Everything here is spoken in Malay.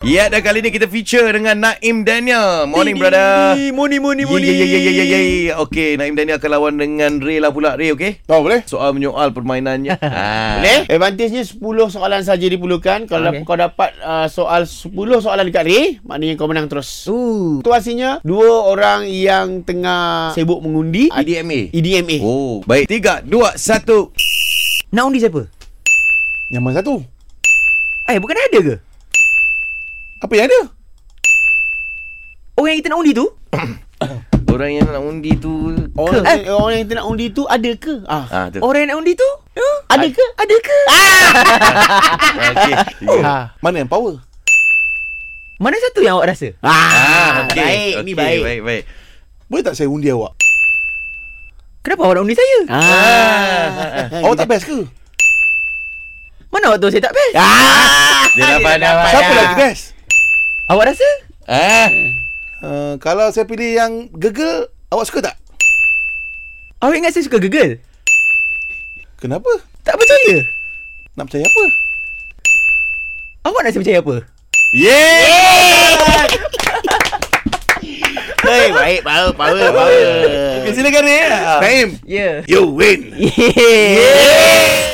Ya, dan kali ni kita feature dengan Naim Daniel. Morning, Ding, brother. ding, Morning, morning, Ye, morning. ye, ye, ye, ye, ye, ye. Okey, Naim Daniel akan lawan dengan Ray lah pula. Ray, okey? Oh boleh? Soal menyoal permainannya. ha. Boleh? Advantage-nya 10 soalan saja diperlukan. Kalau Okey. okay. kau dapat uh, soal 10 soalan dekat Ray, maknanya kau menang terus. Ooh. Situasinya dua orang yang tengah sibuk mengundi E IDMA. EDMA. Oh, Oh. baik. Tiga, dua, satu. Nak undi siapa? Yang mana satu? Eh, bukan ada ke? Apa yang ada? Orang yang kita nak undi tu? Orang yang nak undi tu... Orang, Ke? eh. orang yang tengah undi tu ada ke? Ah. Ah, tu. Orang yang nak undi tu? Huh? Ada ke? Ada ke? Okey. Tiga. Ha. Mana yang power? Mana satu yang awak rasa? Ah, Ah, okey. baik, Okey, ni baik. Baik, baik. Boleh tak saya undi awak? Kenapa awak nak undi saya? Ah. awak tak best ke? Mana awak tahu saya tak best? Ah. Dia dapat, dia dapat. Siapa lagi best? Awak rasa? Ah. Uh, kalau saya pilih yang gegel, awak suka tak? Awak ingat saya suka gegel? Kenapa? Tak ya? percaya? Nak percaya apa? Awak nak saya percaya apa? Yeay! Baik, baik, power, power, power. Okey, silakan, Ray. Ah. Naim, Ya. you win. Yeah. yeah.